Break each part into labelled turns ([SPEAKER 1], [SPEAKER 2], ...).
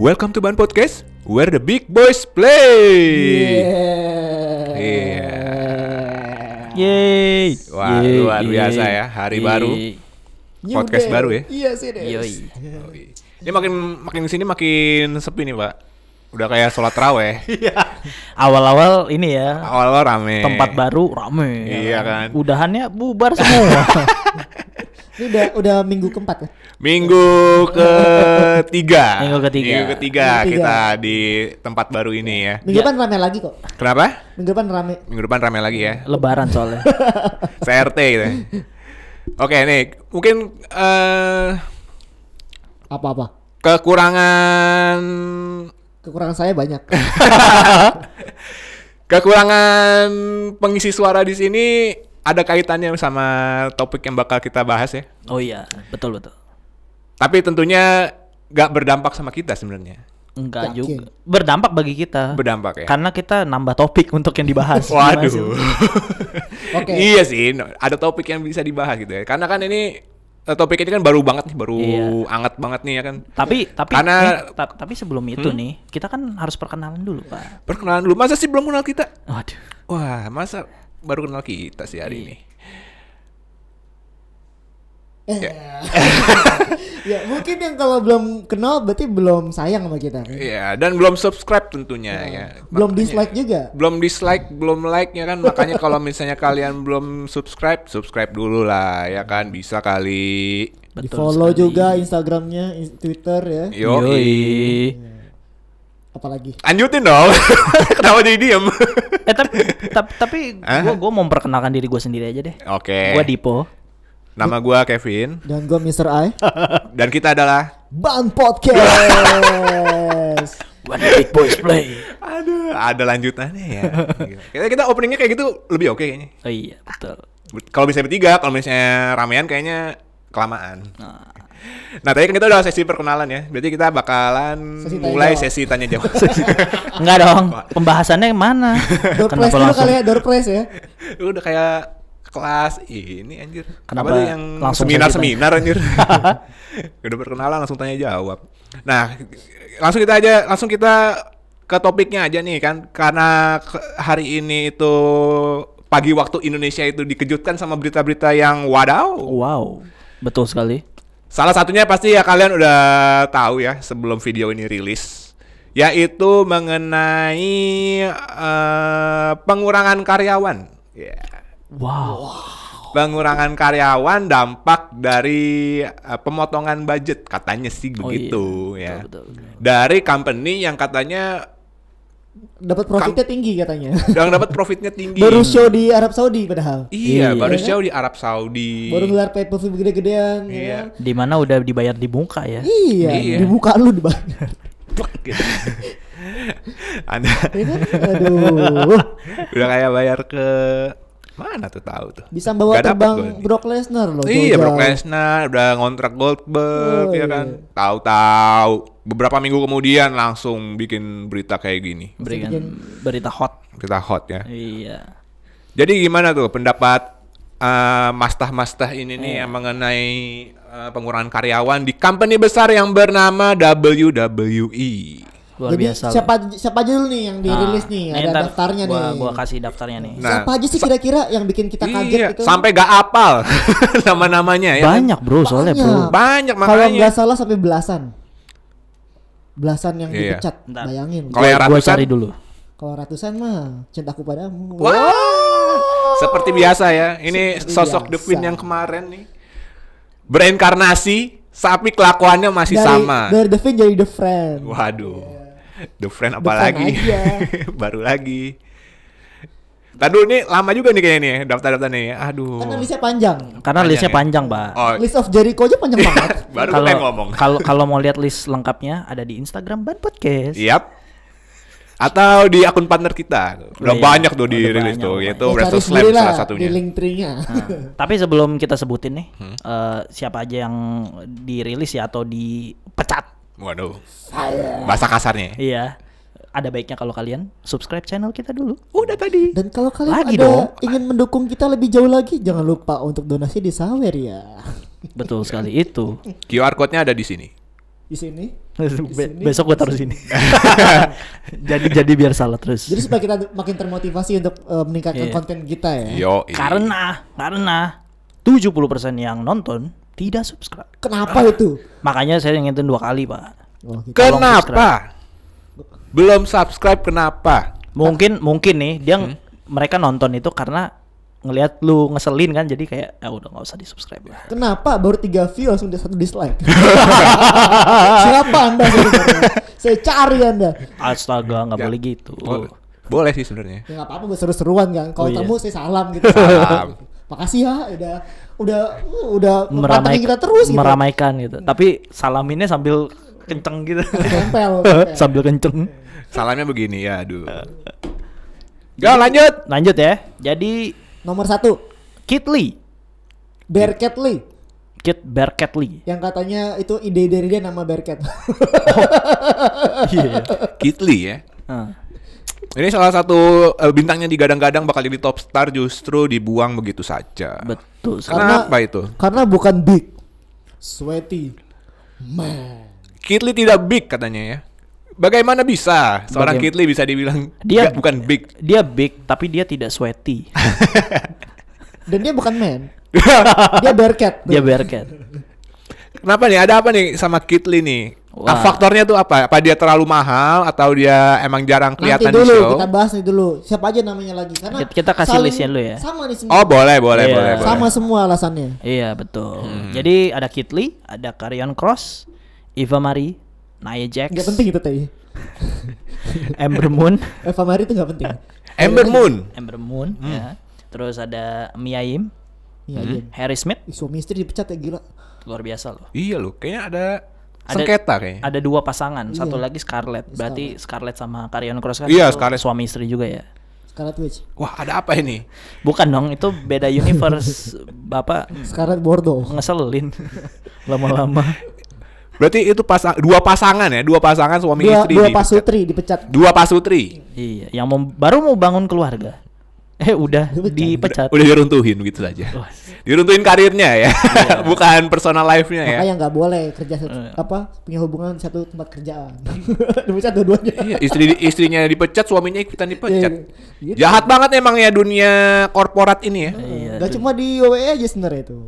[SPEAKER 1] Welcome to Ban Podcast, where the big boys play.
[SPEAKER 2] Yeah.
[SPEAKER 1] Iya.
[SPEAKER 3] Yeay.
[SPEAKER 1] Wah, luar biasa ya, hari baru.
[SPEAKER 2] You
[SPEAKER 1] Podcast
[SPEAKER 2] there.
[SPEAKER 1] baru ya?
[SPEAKER 2] Iya sih deh.
[SPEAKER 3] Yoi.
[SPEAKER 1] Yoi. Ini makin makin sini makin sepi nih pak. Udah kayak sholat raweh.
[SPEAKER 3] Awal-awal ini ya,
[SPEAKER 1] Awal-awal rame.
[SPEAKER 3] tempat baru rame.
[SPEAKER 1] Iya kan.
[SPEAKER 3] Udahannya bubar semua.
[SPEAKER 2] Ini udah udah minggu keempat ya.
[SPEAKER 1] Minggu ketiga.
[SPEAKER 3] Minggu ketiga.
[SPEAKER 1] Minggu ketiga
[SPEAKER 2] Minggu ketiga.
[SPEAKER 1] kita di tempat baru ini ya.
[SPEAKER 2] Minggu
[SPEAKER 3] Iya.
[SPEAKER 2] depan rame lagi kok.
[SPEAKER 1] Kenapa?
[SPEAKER 2] Minggu depan rame.
[SPEAKER 1] Minggu depan rame lagi ya.
[SPEAKER 3] Lebaran soalnya.
[SPEAKER 1] CRT gitu. ya. Oke nih, mungkin eh,
[SPEAKER 2] Apa-apa.
[SPEAKER 1] kekurangan
[SPEAKER 2] Kekurangan saya banyak.
[SPEAKER 1] kekurangan pengisi suara di sini ada kaitannya sama topik yang bakal kita bahas ya.
[SPEAKER 3] Oh iya, betul betul.
[SPEAKER 1] Tapi tentunya nggak berdampak sama kita sebenarnya.
[SPEAKER 2] Yakin.
[SPEAKER 3] Enggak juga. Berdampak bagi kita.
[SPEAKER 1] Berdampak ya.
[SPEAKER 3] Karena kita nambah topik untuk yang dibahas. Kan- Gimana sih?
[SPEAKER 1] Waduh.
[SPEAKER 2] Oke.
[SPEAKER 1] Iya sih, no- ada topik yang bisa dibahas gitu ya. Karena kan ini eh, topik ini kan baru banget nih, baru
[SPEAKER 3] Iya.
[SPEAKER 1] anget banget nih ya kan.
[SPEAKER 3] Tapi tapi
[SPEAKER 1] Karena- Hmm?
[SPEAKER 3] eh, ta- tapi sebelum itu nih, kita kan harus perkenalan dulu, Pak.
[SPEAKER 1] Perkenalan dulu, masa sih belum kenal kita?
[SPEAKER 3] Waduh.
[SPEAKER 1] Wah, masa baru kenal kita sih
[SPEAKER 3] Iya.
[SPEAKER 1] hari ini.
[SPEAKER 2] ya mungkin yang kalau belum kenal berarti belum sayang sama kita.
[SPEAKER 1] Iya, dan belum subscribe tentunya
[SPEAKER 3] Iya.
[SPEAKER 1] ya.
[SPEAKER 2] Belum
[SPEAKER 1] Makanya-
[SPEAKER 2] dislike juga.
[SPEAKER 1] Belum dislike, belum like ya kan. Makanya kalau misalnya kalian belum subscribe, subscribe dulu lah ya kan. Bisa kali.
[SPEAKER 2] Di
[SPEAKER 3] Betul
[SPEAKER 2] follow
[SPEAKER 3] sekali.
[SPEAKER 2] juga Instagramnya, in- Twitter ya.
[SPEAKER 1] Yo.
[SPEAKER 2] Apalagi.
[SPEAKER 1] Lanjutin dong. Kenapa jadi diem?
[SPEAKER 3] Eh tapi tap- tapi
[SPEAKER 1] Hah?
[SPEAKER 3] gua gua mau memperkenalkan diri gua sendiri aja deh.
[SPEAKER 1] Oke.
[SPEAKER 3] Gua Dipo.
[SPEAKER 1] Nama gua Kevin
[SPEAKER 2] Dan gue Mr. I.
[SPEAKER 1] dan kita adalah
[SPEAKER 2] Ban Podcast.
[SPEAKER 3] Gua di Big Boys Play.
[SPEAKER 1] Aduh, ada lanjutannya ya. kita, kita openingnya kayak gitu lebih oke kayaknya.
[SPEAKER 3] Oh iya, betul.
[SPEAKER 1] Ber- Kalau misalnya bertiga, kalau misalnya ramean kayaknya kelamaan.
[SPEAKER 3] Nah.
[SPEAKER 1] Nah, tadi kan kita udah sesi perkenalan ya. Berarti kita bakalan
[SPEAKER 2] Sesi tanya
[SPEAKER 1] mulai
[SPEAKER 2] jawab.
[SPEAKER 1] sesi tanya jawab.
[SPEAKER 3] Enggak dong, pembahasannya yang mana?
[SPEAKER 2] Door prize dulu kali ya, door prize ya.
[SPEAKER 1] Lu udah kayak kelas ini anjir.
[SPEAKER 3] Kenapa
[SPEAKER 1] Apa tuh yang
[SPEAKER 3] langsung
[SPEAKER 1] seminar-seminar anjir. udah perkenalan langsung tanya jawab. Nah, langsung kita aja langsung kita ke topiknya aja nih kan karena ke- hari ini itu pagi waktu Indonesia itu dikejutkan sama berita-berita yang wadaw.
[SPEAKER 3] Wow, betul sekali.
[SPEAKER 1] Salah satunya pasti ya kalian udah tahu ya sebelum video ini rilis yaitu mengenai eh, pengurangan karyawan. Ya.
[SPEAKER 3] Wow.
[SPEAKER 1] pengurangan karyawan dampak dari eh, pemotongan budget katanya sih
[SPEAKER 3] Oh
[SPEAKER 1] begitu
[SPEAKER 3] iya,
[SPEAKER 1] ya.
[SPEAKER 3] betul, betul.
[SPEAKER 1] Dari company yang katanya
[SPEAKER 2] Dapat profitnya tinggi katanya.
[SPEAKER 1] yang dapat profitnya tinggi.
[SPEAKER 2] Baru show di Arab Saudi padahal.
[SPEAKER 1] iya,
[SPEAKER 3] Iya.
[SPEAKER 1] baru jauh di Arab Saudi.
[SPEAKER 2] Baru gelar pay per view gede-gedean. ya
[SPEAKER 1] Iya.
[SPEAKER 2] kan?
[SPEAKER 3] Dimana udah dibayar di muka ya?
[SPEAKER 2] Iya,
[SPEAKER 1] Iya.
[SPEAKER 2] dibuka lu dibayar.
[SPEAKER 1] Anda
[SPEAKER 2] Ya kan? Aduh.
[SPEAKER 1] udah kayak bayar ke mana tuh tahu tuh.
[SPEAKER 2] Bisa bawa
[SPEAKER 1] Nggak dapet
[SPEAKER 2] terbang
[SPEAKER 1] gua nih.
[SPEAKER 2] Brock Lesnar loh.
[SPEAKER 1] Iya,
[SPEAKER 2] jauh-jauh.
[SPEAKER 1] Brock Lesnar udah ngontrak Goldberg
[SPEAKER 2] Oh,
[SPEAKER 1] ya kan. Tahu-tahu beberapa minggu kemudian langsung bikin berita kayak gini.
[SPEAKER 3] Berikan berita hot.
[SPEAKER 1] Berita hot ya.
[SPEAKER 3] Iya.
[SPEAKER 1] Jadi gimana tuh pendapat eh, mastah-mastah ini nih yang mengenai eh, pengurangan karyawan di company besar yang bernama E? WWE?
[SPEAKER 3] Luar
[SPEAKER 2] Jadi
[SPEAKER 3] biasa.
[SPEAKER 2] siapa siapa aja dulu nih yang
[SPEAKER 3] loh.
[SPEAKER 2] dirilis nih,
[SPEAKER 3] Nah,
[SPEAKER 2] ada
[SPEAKER 3] ntar
[SPEAKER 2] daftarnya
[SPEAKER 3] gua,
[SPEAKER 2] nih.
[SPEAKER 3] Gua kasih daftarnya nih.
[SPEAKER 1] Nah,
[SPEAKER 2] siapa aja sih kira-kira yang bikin kita kaget
[SPEAKER 1] Iya,
[SPEAKER 2] gitu?
[SPEAKER 1] sampai gak apal nama-namanya ya. kan?
[SPEAKER 3] Banyak bro, soalnya bro.
[SPEAKER 2] Banyak.
[SPEAKER 1] Banyak
[SPEAKER 2] Kalau
[SPEAKER 1] makanya.
[SPEAKER 2] nggak salah sampai belasan. Belasan yang
[SPEAKER 1] Iya.
[SPEAKER 2] dipecat,
[SPEAKER 3] Ntar.
[SPEAKER 2] bayangin.
[SPEAKER 1] Kalau yang
[SPEAKER 3] Gua
[SPEAKER 1] ratusan
[SPEAKER 3] cari dulu.
[SPEAKER 2] Kalau ratusan mah cintaku padamu.
[SPEAKER 1] Wah, seperti biasa ya. Ini
[SPEAKER 2] Seperti
[SPEAKER 1] sosok The Queen
[SPEAKER 2] biasa.
[SPEAKER 1] yang kemarin nih berinkarnasi, tapi kelakuannya masih
[SPEAKER 2] dari,
[SPEAKER 1] sama.
[SPEAKER 2] Dari The Fin jadi The Friend.
[SPEAKER 1] Waduh, The Friend
[SPEAKER 2] Iya. The Friend
[SPEAKER 1] apalagi,
[SPEAKER 2] aja.
[SPEAKER 1] baru lagi. Tadu ini lama juga nih kayaknya nih daftar-daftar nih. Aduh.
[SPEAKER 2] Karena listnya panjang.
[SPEAKER 3] Karena
[SPEAKER 1] Panjang
[SPEAKER 3] listnya
[SPEAKER 1] ya?
[SPEAKER 3] panjang, Pak.
[SPEAKER 1] Oh,
[SPEAKER 2] List of Jericho aja panjang banget.
[SPEAKER 1] baru
[SPEAKER 3] Kalau
[SPEAKER 1] pengen ngomong.
[SPEAKER 3] kalau kalau mau lihat list lengkapnya ada di Instagram Ban Podcast.
[SPEAKER 1] Yap. Atau di akun partner kita. Udah
[SPEAKER 3] Iya,
[SPEAKER 1] banyak tuh
[SPEAKER 3] udah
[SPEAKER 1] dirilis
[SPEAKER 3] banyak,
[SPEAKER 1] tuh,
[SPEAKER 3] banyak.
[SPEAKER 1] yaitu
[SPEAKER 2] Ya, cari
[SPEAKER 1] Wrestle Slam
[SPEAKER 2] sendiri
[SPEAKER 1] salah
[SPEAKER 2] lah
[SPEAKER 1] satunya. Hmm.
[SPEAKER 2] Di link tree-nya.
[SPEAKER 3] Tapi sebelum kita sebutin nih eh, siapa aja yang dirilis ya atau dipecat.
[SPEAKER 1] Waduh,
[SPEAKER 2] Saya.
[SPEAKER 1] bahasa kasarnya.
[SPEAKER 3] Iya. Ada baiknya kalau kalian subscribe channel kita dulu.
[SPEAKER 1] Udah tadi.
[SPEAKER 2] Dan kalau kalian
[SPEAKER 3] Lagi
[SPEAKER 2] ada
[SPEAKER 3] dong.
[SPEAKER 2] ingin mendukung kita lebih jauh lagi, jangan lupa untuk donasi di Sawer ya.
[SPEAKER 3] Betul sekali itu.
[SPEAKER 1] QR code-nya ada di sini.
[SPEAKER 2] Di sini.
[SPEAKER 3] Be- besok gue taruh sini. jadi jadi biar salah terus.
[SPEAKER 2] Jadi supaya kita makin termotivasi untuk eh, meningkatkan
[SPEAKER 3] Iya.
[SPEAKER 2] konten kita ya.
[SPEAKER 1] Yo.
[SPEAKER 3] Karena karena 70% yang nonton tidak subscribe.
[SPEAKER 2] Kenapa
[SPEAKER 1] Ah.
[SPEAKER 2] itu?
[SPEAKER 3] Makanya saya ngingetin dua kali, Pak.
[SPEAKER 2] Oh, gitu.
[SPEAKER 1] Kenapa? Belum subscribe kenapa?
[SPEAKER 3] Mungkin mungkin nih dia ng- mereka nonton itu karena ngelihat lu ngeselin kan jadi kayak ya udah nggak usah di-subscribe lah.
[SPEAKER 2] Kenapa baru 3 view langsung ada satu dislike? Siapa Anda sebenarnya? Saya cari Anda.
[SPEAKER 3] Astaga, nggak
[SPEAKER 1] Ya.
[SPEAKER 3] boleh gitu.
[SPEAKER 1] Bo- Boleh sih sebenarnya.
[SPEAKER 2] Ya nggak apa-apa buat seru-seruan kan. Kalau
[SPEAKER 3] Oh, iya.
[SPEAKER 2] tamu saya salam gitu. Salam. Makasih ya udah udah uh, udah
[SPEAKER 3] Meramai,
[SPEAKER 2] pantengin kita terus gitu.
[SPEAKER 3] meramaikan gitu. Tapi salaminnya sambil kenceng gitu.
[SPEAKER 2] Tempel. tempel.
[SPEAKER 3] sambil kenceng.
[SPEAKER 1] Salamnya begini ya, aduh.
[SPEAKER 3] Eh.
[SPEAKER 1] Yo, lanjut.
[SPEAKER 3] Lanjut ya. Jadi
[SPEAKER 2] Nomor satu,
[SPEAKER 3] Kit Lee,
[SPEAKER 2] Bearcat Lee
[SPEAKER 3] Kit Bearcat Lee.
[SPEAKER 2] yang katanya itu ide dari dia nama Bearcat.
[SPEAKER 3] Iya.
[SPEAKER 1] Kitli ya.
[SPEAKER 3] Ah.
[SPEAKER 1] Ini salah satu eh, bintangnya digadang-gadang bakal jadi top star justru dibuang begitu saja.
[SPEAKER 3] Betul sekali.
[SPEAKER 1] Kenapa itu?
[SPEAKER 2] Karena bukan big, sweaty, man.
[SPEAKER 1] Kitli tidak big katanya ya. Bagaimana bisa seorang
[SPEAKER 3] Bagaim-
[SPEAKER 1] Kitli bisa dibilang dia
[SPEAKER 3] Dia-
[SPEAKER 1] bukan big?
[SPEAKER 3] Dia big tapi dia tidak sweaty.
[SPEAKER 2] Dan dia bukan man. dia Bearcat.
[SPEAKER 3] dia bearcat.
[SPEAKER 1] Kenapa nih? Ada apa nih sama Kitli nih?
[SPEAKER 3] Wah.
[SPEAKER 1] Ah, faktornya tuh apa? Apa dia terlalu mahal atau dia emang jarang
[SPEAKER 2] Nanti
[SPEAKER 1] kelihatan di
[SPEAKER 2] dulu
[SPEAKER 1] show?
[SPEAKER 2] kita bahas nih dulu. Siapa aja namanya lagi? Karena
[SPEAKER 3] Kita- kita kasih
[SPEAKER 2] saling-
[SPEAKER 3] listnya dulu ya.
[SPEAKER 2] Sama nih semua.
[SPEAKER 1] Oh boleh boleh
[SPEAKER 3] Iya.
[SPEAKER 1] boleh.
[SPEAKER 2] sama
[SPEAKER 1] boleh.
[SPEAKER 2] semua alasannya.
[SPEAKER 3] Iya betul. Jadi ada Kit Lee, ada Karyon Cross, Eva Marie, Nia Jax,
[SPEAKER 2] Gak penting itu tadi.
[SPEAKER 3] Ember Moon,
[SPEAKER 2] Eva Marie itu gak penting.
[SPEAKER 1] Ember Moon.
[SPEAKER 3] Ember Moon,
[SPEAKER 1] Hmm.
[SPEAKER 3] ya. Terus ada Mia Yim,
[SPEAKER 2] Iya, iya.
[SPEAKER 3] Harry Smith,
[SPEAKER 2] Ih, Suami istri dipecat ya gila.
[SPEAKER 3] luar biasa loh.
[SPEAKER 1] Iya loh, kayaknya ada,
[SPEAKER 3] Ada-
[SPEAKER 1] sengketa kayaknya.
[SPEAKER 3] Ada dua pasangan, satu lagi Iya. Scarlett. Berarti Scarlett sama Karyon Cross kan?
[SPEAKER 1] Iya,
[SPEAKER 3] itu
[SPEAKER 1] Scarlett.
[SPEAKER 3] Suami istri juga ya.
[SPEAKER 2] Scarlet Witch.
[SPEAKER 1] Wah ada apa ini?
[SPEAKER 3] Bukan dong, itu beda universe. Bapak
[SPEAKER 2] Scarlet Bordeaux.
[SPEAKER 3] ngeselin lama-lama.
[SPEAKER 1] Berarti itu pasang dua pasangan ya, dua pasangan suami
[SPEAKER 2] Dua,
[SPEAKER 1] istri.
[SPEAKER 2] dua
[SPEAKER 1] di-
[SPEAKER 2] pasutri dipecat.
[SPEAKER 1] Dua pasutri.
[SPEAKER 3] Iya, yang mau, baru mau bangun keluarga. Eh udah dipecat.
[SPEAKER 1] Udah diruntuhin gitu saja.
[SPEAKER 3] Wah.
[SPEAKER 1] Diruntuhin karirnya ya, bukan personal life-nya ya.
[SPEAKER 2] Iya. Makanya nggak boleh kerja satu-
[SPEAKER 3] Eh.
[SPEAKER 2] apa punya hubungan di satu tempat kerjaan. dipecat dua-duanya.
[SPEAKER 1] Iya, istri istrinya dipecat, suaminya ikutan dipecat.
[SPEAKER 2] Iya, gitu.
[SPEAKER 1] Jahat banget emang ya dunia korporat ini ya.
[SPEAKER 3] Iya,
[SPEAKER 2] Gak cuma di WWE aja sebenarnya itu.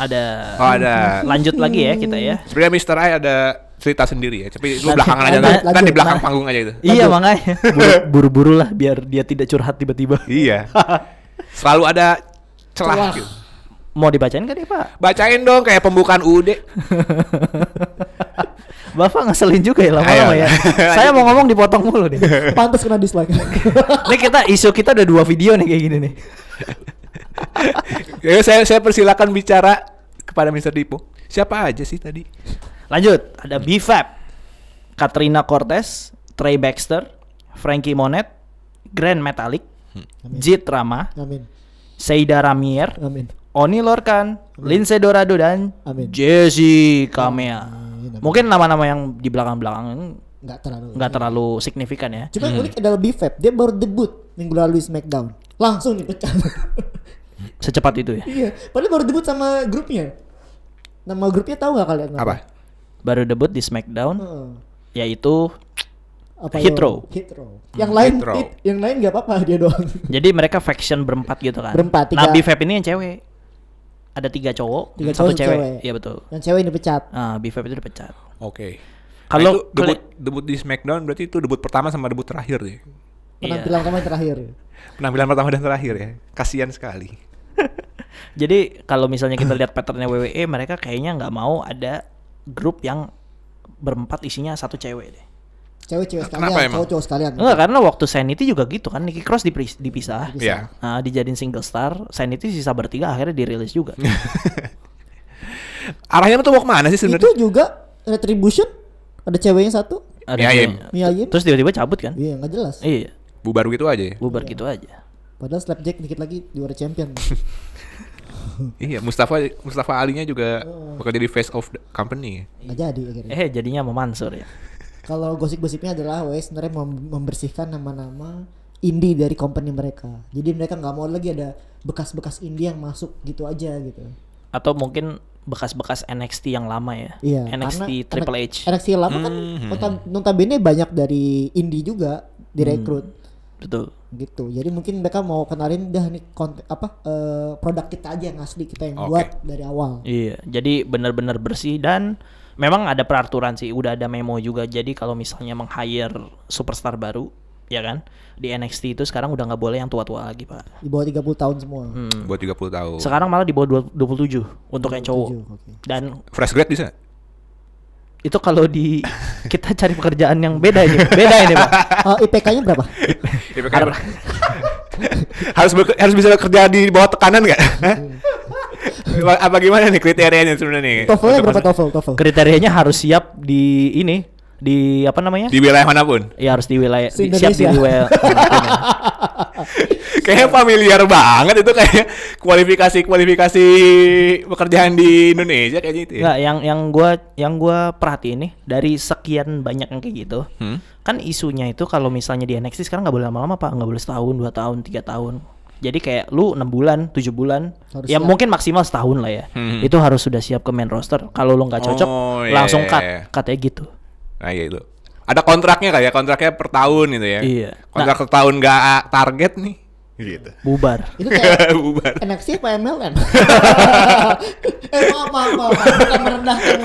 [SPEAKER 3] ada
[SPEAKER 1] Oh ada.
[SPEAKER 3] lanjut lagi ya kita ya.
[SPEAKER 1] Sebenarnya Mr. I ada cerita sendiri ya, tapi itu
[SPEAKER 3] Lanjut,
[SPEAKER 1] belakangan aja
[SPEAKER 2] lanjut,
[SPEAKER 1] kan, kan di
[SPEAKER 2] lanjut.
[SPEAKER 1] belakang
[SPEAKER 3] Nah.
[SPEAKER 1] panggung aja itu.
[SPEAKER 3] Iya makanya Buru- buru-buru lah biar dia tidak curhat tiba-tiba.
[SPEAKER 1] Iya. Selalu ada celah.
[SPEAKER 2] Celah.
[SPEAKER 1] gitu.
[SPEAKER 3] Mau dibacain gak nih Pak?
[SPEAKER 1] Bacain dong kayak pembukaan UUD.
[SPEAKER 3] Bapak ngeselin juga ya lama-lama
[SPEAKER 1] Ayo.
[SPEAKER 3] ya. Saya mau ngomong dipotong mulu nih.
[SPEAKER 2] Pantas kena dislike.
[SPEAKER 3] Ini kita isu kita udah dua video nih kayak gini nih.
[SPEAKER 1] Ya, saya saya persilakan bicara kepada Mr. Dipo. Siapa aja sih tadi?
[SPEAKER 3] Lanjut, ada BFAP, Katrina Cortez, Trey Baxter, Frankie Monet, Grand Metallic, Jit Rama,
[SPEAKER 2] Amin.
[SPEAKER 3] Seida Ramier,
[SPEAKER 2] Amin.
[SPEAKER 3] Oni Lorcan, Lindsay Dorado dan
[SPEAKER 2] Amin.
[SPEAKER 3] Jesse Kamea.
[SPEAKER 2] Amin, amin.
[SPEAKER 3] Mungkin nama-nama yang di belakang-belakang ini
[SPEAKER 2] Nggak terlalu.
[SPEAKER 3] nggak terlalu signifikan ya.
[SPEAKER 2] Cuma yang unik adalah BFAP, dia baru debut minggu lalu di SmackDown. Langsung dipecat.
[SPEAKER 3] Secepat itu ya.
[SPEAKER 2] iya, padahal baru debut sama grupnya. Nama grupnya tahu nggak kalian?
[SPEAKER 1] Apa?
[SPEAKER 3] Baru debut di SmackDown
[SPEAKER 2] Heeh.
[SPEAKER 3] yaitu
[SPEAKER 2] Apa yo?
[SPEAKER 3] Hitro.
[SPEAKER 2] Hitro. Yang lain
[SPEAKER 1] Hitro.
[SPEAKER 2] it- yang lain nggak apa-apa dia doang.
[SPEAKER 3] jadi mereka faction berempat gitu kan.
[SPEAKER 2] Berempat,
[SPEAKER 3] Nah,
[SPEAKER 2] tiga-
[SPEAKER 3] BFAP ini yang cewek. Ada tiga cowok,
[SPEAKER 2] Tiga cowok, satu
[SPEAKER 3] satu
[SPEAKER 2] cewek.
[SPEAKER 3] cewek. Iya betul.
[SPEAKER 2] Yang cewek ini pecat.
[SPEAKER 3] Ah, BFAP itu dipecat.
[SPEAKER 1] Oke.
[SPEAKER 3] Kalau
[SPEAKER 2] Nah,
[SPEAKER 1] Kalau Nah, debut debut di SmackDown berarti itu debut pertama sama debut terakhir ya.
[SPEAKER 2] Penampilan kamu yang terakhir.
[SPEAKER 1] Penampilan pertama dan terakhir ya. Kasihan sekali.
[SPEAKER 3] Jadi kalau misalnya kita lihat patternnya WWE, mereka kayaknya nggak mau ada grup yang berempat isinya satu cewek deh.
[SPEAKER 2] Cewek-cewek sekalian,
[SPEAKER 1] Nah, Kenapa emang?
[SPEAKER 2] cowok-cowok sekalian.
[SPEAKER 3] Enggak karena waktu Sanity juga gitu kan, Nikki Cross dipris- dipisah,
[SPEAKER 2] Bisa.
[SPEAKER 1] Iya.
[SPEAKER 3] nah, dijadiin single star, Sanity sisa bertiga akhirnya dirilis juga.
[SPEAKER 1] Arahnya tuh mau kemana sih
[SPEAKER 2] Itu
[SPEAKER 1] sebenarnya?
[SPEAKER 2] juga Retribution ada ceweknya satu.
[SPEAKER 3] Ada
[SPEAKER 1] Ya,
[SPEAKER 3] juga-
[SPEAKER 1] Im.
[SPEAKER 2] Mia Yim.
[SPEAKER 3] Terus tiba-tiba cabut kan?
[SPEAKER 2] Iya, nggak jelas.
[SPEAKER 3] Iya,
[SPEAKER 1] Bubar gitu aja ya.
[SPEAKER 3] bubar gitu aja.
[SPEAKER 2] Padahal Slapjack dikit lagi juara champion.
[SPEAKER 1] Iya, Mustafa Mustafa Ali-nya juga bakal jadi face of the company. ya.
[SPEAKER 2] Nggak jadi akhirnya.
[SPEAKER 3] Eh jadinya sama Mansur ya.
[SPEAKER 2] Kalau gosip-gosipnya adalah WWE sebenarnya mem- membersihkan nama-nama indie dari company mereka. Jadi mereka nggak mau lagi ada bekas-bekas indie yang masuk gitu aja gitu.
[SPEAKER 3] Atau mungkin bekas-bekas NXT yang lama ya.
[SPEAKER 2] Iya,
[SPEAKER 3] NXT
[SPEAKER 2] karena
[SPEAKER 3] Triple H. Mhm.
[SPEAKER 2] NXT yang lama kan notab- notabene banyak dari indie juga direkrut
[SPEAKER 3] Betul.
[SPEAKER 2] gitu. Jadi mungkin mereka mau kenalin dah nih konten apa eh, produk kita aja yang asli kita yang
[SPEAKER 1] Oke.
[SPEAKER 2] buat dari awal.
[SPEAKER 3] Iya, jadi benar-benar bersih dan memang ada peraturan sih, udah ada memo juga. Jadi kalau misalnya meng-hire superstar baru, ya kan? Di NXT itu sekarang udah nggak boleh yang tua-tua lagi, Pak.
[SPEAKER 2] Di bawah 30 tahun semua.
[SPEAKER 3] Mhm.
[SPEAKER 1] buat 30 tahun.
[SPEAKER 3] Sekarang malah di bawah 27 untuk yang cowok.
[SPEAKER 2] 27, oke.
[SPEAKER 3] Dan
[SPEAKER 1] Fresh grade bisa?
[SPEAKER 3] itu kalau di kita cari pekerjaan yang beda ini, beda ini, Pak.
[SPEAKER 2] Eh, IPK-nya berapa?
[SPEAKER 1] IPK berapa? harus ber- harus bisa kerja di bawah tekanan nggak? Hah? Apa gimana nih kriterianya sebenarnya
[SPEAKER 3] Iya.
[SPEAKER 1] nih?
[SPEAKER 2] TOEFL-nya
[SPEAKER 1] Untuk
[SPEAKER 2] berapa
[SPEAKER 1] masuk-
[SPEAKER 2] TOEFL? TOEFL.
[SPEAKER 3] Kriterianya harus siap di ini, di apa namanya?
[SPEAKER 1] Di wilayah manapun.
[SPEAKER 3] Ya harus di wilayah di-
[SPEAKER 2] Se-Indonesia.
[SPEAKER 3] siap di wilayah. Oh,
[SPEAKER 1] Kayaknya familiar banget itu kayak kualifikasi-kualifikasi pekerjaan di Indonesia kayaknya itu ya.
[SPEAKER 3] Enggak, yang yang gua yang gua perhatiin nih dari sekian banyak yang kayak gitu.
[SPEAKER 1] Hmm?
[SPEAKER 3] kan isunya itu kalau misalnya di NXT sekarang nggak boleh lama-lama pak nggak boleh setahun dua tahun tiga tahun jadi kayak lu enam bulan tujuh bulan
[SPEAKER 2] Harus
[SPEAKER 3] ya
[SPEAKER 2] siap.
[SPEAKER 3] mungkin maksimal setahun lah ya
[SPEAKER 1] Hmm.
[SPEAKER 3] itu harus sudah siap ke main roster kalau lu nggak cocok
[SPEAKER 1] Oh, iya,
[SPEAKER 3] langsung
[SPEAKER 1] iya,
[SPEAKER 3] cut
[SPEAKER 1] iya.
[SPEAKER 3] katanya gitu
[SPEAKER 1] Nah, iya itu. Ada kontraknya kayak kontraknya per tahun gitu ya.
[SPEAKER 3] Iya.
[SPEAKER 1] Kontrak per tahun nggak a- target nih. Gitu.
[SPEAKER 3] bubar
[SPEAKER 2] Itu kayak
[SPEAKER 1] Bubar.
[SPEAKER 2] NXT apa MLM? eh maaf maaf maaf bukan merendahkan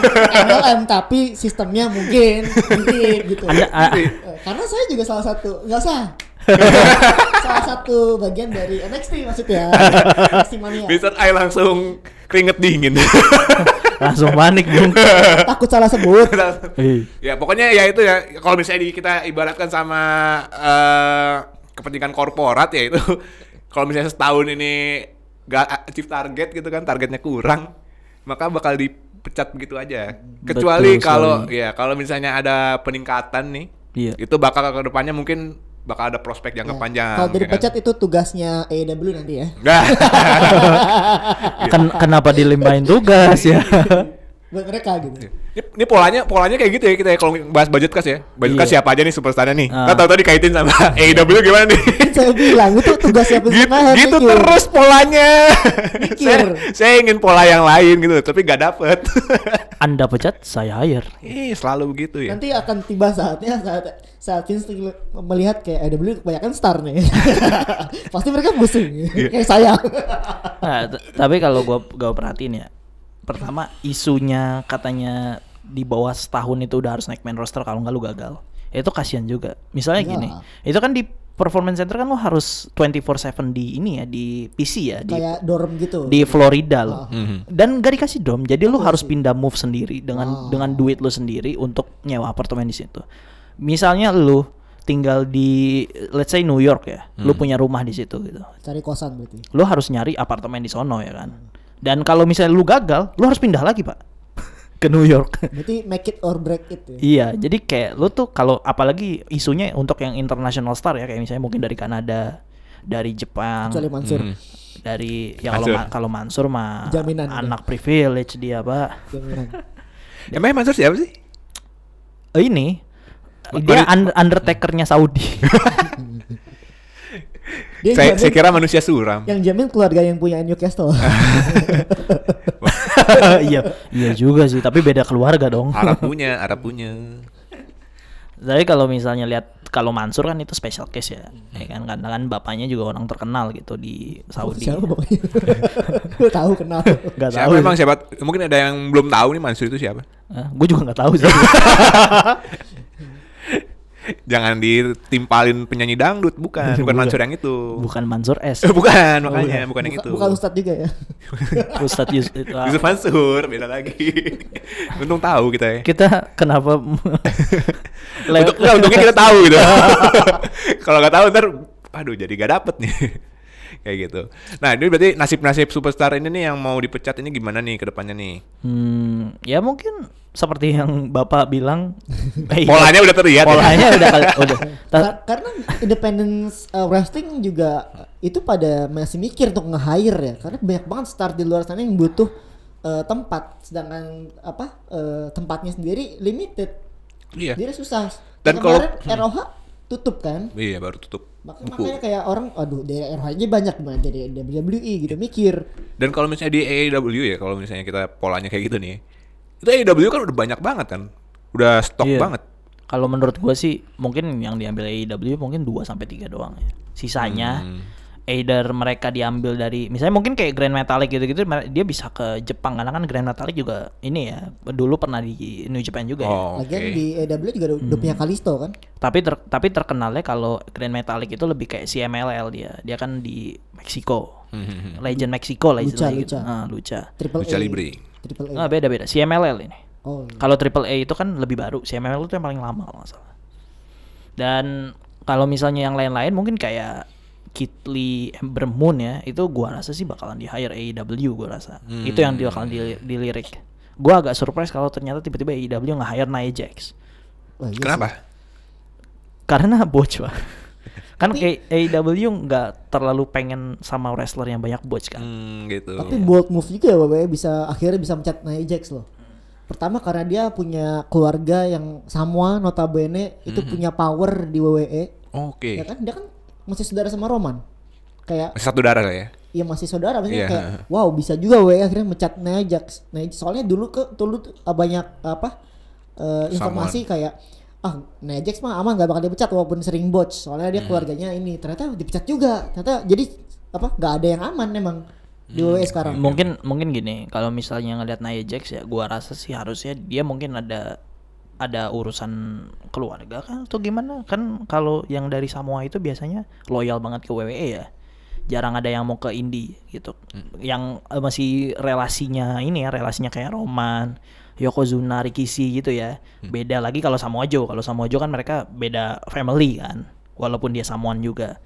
[SPEAKER 2] MLM tapi sistemnya mungkin mungkin gitu.
[SPEAKER 3] anda a-
[SPEAKER 2] Eh, Karena saya juga salah satu nggak usah salah satu bagian dari NXT maksudnya NXT mania.
[SPEAKER 1] Mister I langsung keringet dingin.
[SPEAKER 3] langsung panik dong
[SPEAKER 2] Takut salah sebut. Nah,
[SPEAKER 3] Ih.
[SPEAKER 1] ya pokoknya ya itu ya kalau misalnya di, kita ibaratkan sama eh, kepentingan korporat ya itu kalau misalnya setahun ini gak achieve target gitu kan targetnya kurang maka bakal dipecat begitu aja kecuali
[SPEAKER 3] Betul
[SPEAKER 1] kalau ya kalau misalnya ada peningkatan nih
[SPEAKER 3] Iya.
[SPEAKER 1] itu bakal ke depannya mungkin bakal ada prospek jangka
[SPEAKER 2] Ya,
[SPEAKER 1] panjang
[SPEAKER 2] Kalau dari
[SPEAKER 1] ya kan?
[SPEAKER 2] pecat itu tugasnya AEW nanti ya.
[SPEAKER 1] Nah,
[SPEAKER 3] Ken- kenapa dilimpahin tugas ya
[SPEAKER 2] Buat mereka gitu.
[SPEAKER 1] ini, ini polanya polanya kayak gitu ya kita ya, kalau bahas budget kas ya budget
[SPEAKER 3] Iya.
[SPEAKER 1] kas siapa aja nih superstarnya nih
[SPEAKER 3] Ah.
[SPEAKER 1] Nah, tahu-tahu dikaitin sama AEW gimana nih
[SPEAKER 2] Kan Saya bilang itu tugasnya
[SPEAKER 1] gitu,
[SPEAKER 2] Pisma, happy
[SPEAKER 1] gitu
[SPEAKER 2] you.
[SPEAKER 1] terus polanya.
[SPEAKER 2] Mikir.
[SPEAKER 1] saya, saya ingin pola yang lain gitu, tapi nggak dapet.
[SPEAKER 3] anda pecat saya hire
[SPEAKER 1] Ih, selalu begitu ya.
[SPEAKER 2] Nanti akan tiba saatnya saat saat Vince melihat kayak AEW kebanyakan star nih. Pasti mereka
[SPEAKER 1] Iya.
[SPEAKER 2] pusing. kayak saya.
[SPEAKER 3] Nah, t- tapi kalau gua gua perhatiin ya, pertama isunya katanya di bawah setahun itu udah harus naik main roster kalau nggak lu gagal. Ya, itu kasihan juga. Misalnya
[SPEAKER 2] Iya.
[SPEAKER 3] gini, itu kan di performance center kan lu harus 24/7 di ini ya, di PC ya, di
[SPEAKER 2] kayak dorm gitu.
[SPEAKER 3] di Florida lo.
[SPEAKER 1] Mhm.
[SPEAKER 3] Dan gak dikasih dom, jadi
[SPEAKER 2] Iya
[SPEAKER 3] lu harus pindah move sendiri
[SPEAKER 2] Ah.
[SPEAKER 3] dengan dengan duit lu sendiri untuk nyewa apartemen di situ. Misalnya lu tinggal di let's say New York ya, lu punya rumah di situ gitu
[SPEAKER 2] Cari kosan berarti.
[SPEAKER 3] lu harus nyari apartemen di sono ya kan. Dan kalau misalnya lu gagal, lu harus pindah lagi, Pak. Ke New York.
[SPEAKER 2] Berarti make it or break it ya.
[SPEAKER 3] iya, jadi kayak lu tuh kalau apalagi isunya untuk yang international star ya, kayak misalnya mungkin dari Kanada, dari Jepang,
[SPEAKER 2] Kecuali Mansur.
[SPEAKER 1] Hmm.
[SPEAKER 3] dari ya kalau
[SPEAKER 1] Mansur.
[SPEAKER 3] Ma- kalau Mansur mah
[SPEAKER 2] Jaminan.
[SPEAKER 3] anak privilege dia, Pak.
[SPEAKER 2] Jaminan.
[SPEAKER 1] Emangnya Mansur siapa sih?
[SPEAKER 3] Eh, Ini
[SPEAKER 1] Ma-
[SPEAKER 3] dia
[SPEAKER 1] Mari-
[SPEAKER 3] un- undertakernya Saudi.
[SPEAKER 2] Dia yang
[SPEAKER 1] Saya,
[SPEAKER 2] jamin-
[SPEAKER 1] saya kira manusia suram.
[SPEAKER 2] yang jamin keluarga yang punya Newcastle.
[SPEAKER 3] iya, iya juga sih, tapi beda keluarga dong.
[SPEAKER 1] Arab punya, Arab punya.
[SPEAKER 3] Tapi kalau misalnya lihat kalau Mansur kan itu special case ya,
[SPEAKER 1] Hmm.
[SPEAKER 3] ya kan karena kan bapaknya juga orang terkenal gitu di Saudi.
[SPEAKER 2] Siapa pokoknya? Gue tahu kenal.
[SPEAKER 3] Gak tahu. ya.
[SPEAKER 1] Siapa emang siapa? Mungkin ada yang belum tahu nih Mansur itu siapa.
[SPEAKER 3] gue juga nggak tahu sih.
[SPEAKER 1] Jangan ditimpalin penyanyi dangdut, bukan, bukan
[SPEAKER 3] Bukan.
[SPEAKER 1] Mansur yang itu.
[SPEAKER 3] bukan Mansur S,
[SPEAKER 1] Eh, bukan, makanya bukan, yang
[SPEAKER 2] Buka-
[SPEAKER 1] itu.
[SPEAKER 2] Bukan Ustadz juga ya.
[SPEAKER 3] Ustadz Yus. itu, ah.
[SPEAKER 1] Yusuf Mansur, beda lagi. Untung tahu kita ya.
[SPEAKER 3] Kita kenapa? Le-
[SPEAKER 1] Untuk, enggak, untungnya kita tahu gitu. Kalau nggak tahu ntar, aduh jadi gak dapet nih. Kayak gitu. Nah ini berarti nasib-nasib superstar ini nih yang mau dipecat ini gimana nih ke depannya nih?
[SPEAKER 3] Hmm, ya mungkin seperti yang bapak bilang. eh, iya,
[SPEAKER 1] Polanya udah terlihat ya?
[SPEAKER 3] polanya udah kali- udah. Ta-
[SPEAKER 2] Kar- karena independence uh, wrestling juga uh, itu pada masih mikir untuk nge-hire ya karena banyak banget star di luar sana yang butuh uh, tempat sedangkan apa uh, tempatnya sendiri limited
[SPEAKER 1] Iya.
[SPEAKER 2] jadi susah
[SPEAKER 1] Dan
[SPEAKER 2] Dan kemarin ROH tutup kan
[SPEAKER 1] Iya baru tutup
[SPEAKER 2] Maka-
[SPEAKER 1] buku.
[SPEAKER 2] makanya kayak orang aduh dari aja banyak banget dari WWE gitu mikir
[SPEAKER 1] Dan kalau misalnya di AEW ya, kalau misalnya kita polanya kayak gitu nih, itu AEW kan udah banyak banget kan, udah stok
[SPEAKER 3] Iya.
[SPEAKER 1] banget.
[SPEAKER 3] Kalau menurut gua sih mungkin yang diambil AEW mungkin 2 sampai 3 doang ya. Sisanya either mereka diambil dari misalnya mungkin kayak Grand Metalik gitu-gitu mer- dia bisa ke Jepang karena kan Grand Metalik juga ini ya dulu pernah di New Japan juga ya.
[SPEAKER 1] Oh, oke.
[SPEAKER 2] Iya. lagian di AEW juga udah, udah punya Kalisto kan
[SPEAKER 3] Tapi ter- tapi terkenalnya kalau Grand Metalik itu lebih kayak CMLL dia. Dia kan di Meksiko. Legend Meksiko lah
[SPEAKER 2] Lucha,
[SPEAKER 3] istilahnya gitu.
[SPEAKER 2] Lucha.
[SPEAKER 3] Ah, Lucha.
[SPEAKER 2] Triple
[SPEAKER 1] Lucha
[SPEAKER 2] A
[SPEAKER 1] Libre.
[SPEAKER 2] Triple A
[SPEAKER 3] Nggak beda-beda CMLL ini.
[SPEAKER 2] oh iya.
[SPEAKER 3] Kalau triple A itu kan lebih baru, CMML itu yang paling lama kalau nggak salah. Dan kalau misalnya yang lain-lain mungkin kayak Kitli Ember Moon ya, itu gua rasa sih bakalan di hire AEW gua rasa. Itu yang dia bakalan di- dilirik. Gua agak surprise kalau ternyata tiba-tiba AEW nge-hire Nia Jax.
[SPEAKER 2] Wah, iya sih.
[SPEAKER 1] Kenapa?
[SPEAKER 3] Karena botch, Pak. kan A- AEW nggak terlalu pengen sama wrestler yang banyak botch kan.
[SPEAKER 1] Hmm, gitu.
[SPEAKER 2] tapi bold move juga ya Bapak ya, bisa akhirnya bisa mencat Nia Jax loh pertama karena dia punya keluarga yang Samoa notabene itu punya power di WWE
[SPEAKER 1] Hmm. Oke.
[SPEAKER 2] ya kan dia kan masih saudara sama Roman kayak
[SPEAKER 1] Masih satu darah lah ya.
[SPEAKER 2] ya masih saudara maksudnya
[SPEAKER 1] Iya.
[SPEAKER 2] kayak wow bisa juga we akhirnya mecat Nia Jax. Nia- soalnya dulu ke dulu tuh, uh, banyak apa uh, informasi kayak ah Nia Jax mah aman gak bakal dipecat walaupun sering botch soalnya dia keluarganya ini ternyata dipecat juga ternyata jadi apa nggak ada yang aman emang di WWE sekarang
[SPEAKER 3] mungkin mungkin gini kalau misalnya ngelihat Nia Jax ya gua rasa sih harusnya dia mungkin ada ada urusan keluarga kan atau gimana kan kalau yang dari Samoa itu biasanya loyal banget ke WWE ya jarang ada yang mau ke indie gitu yang eh, masih relasinya ini ya relasinya kayak Roman Yokozuna Rikishi gitu ya beda lagi kalau Samoa Joe kalau Samoa Joe kan mereka beda family kan walaupun dia Samoan juga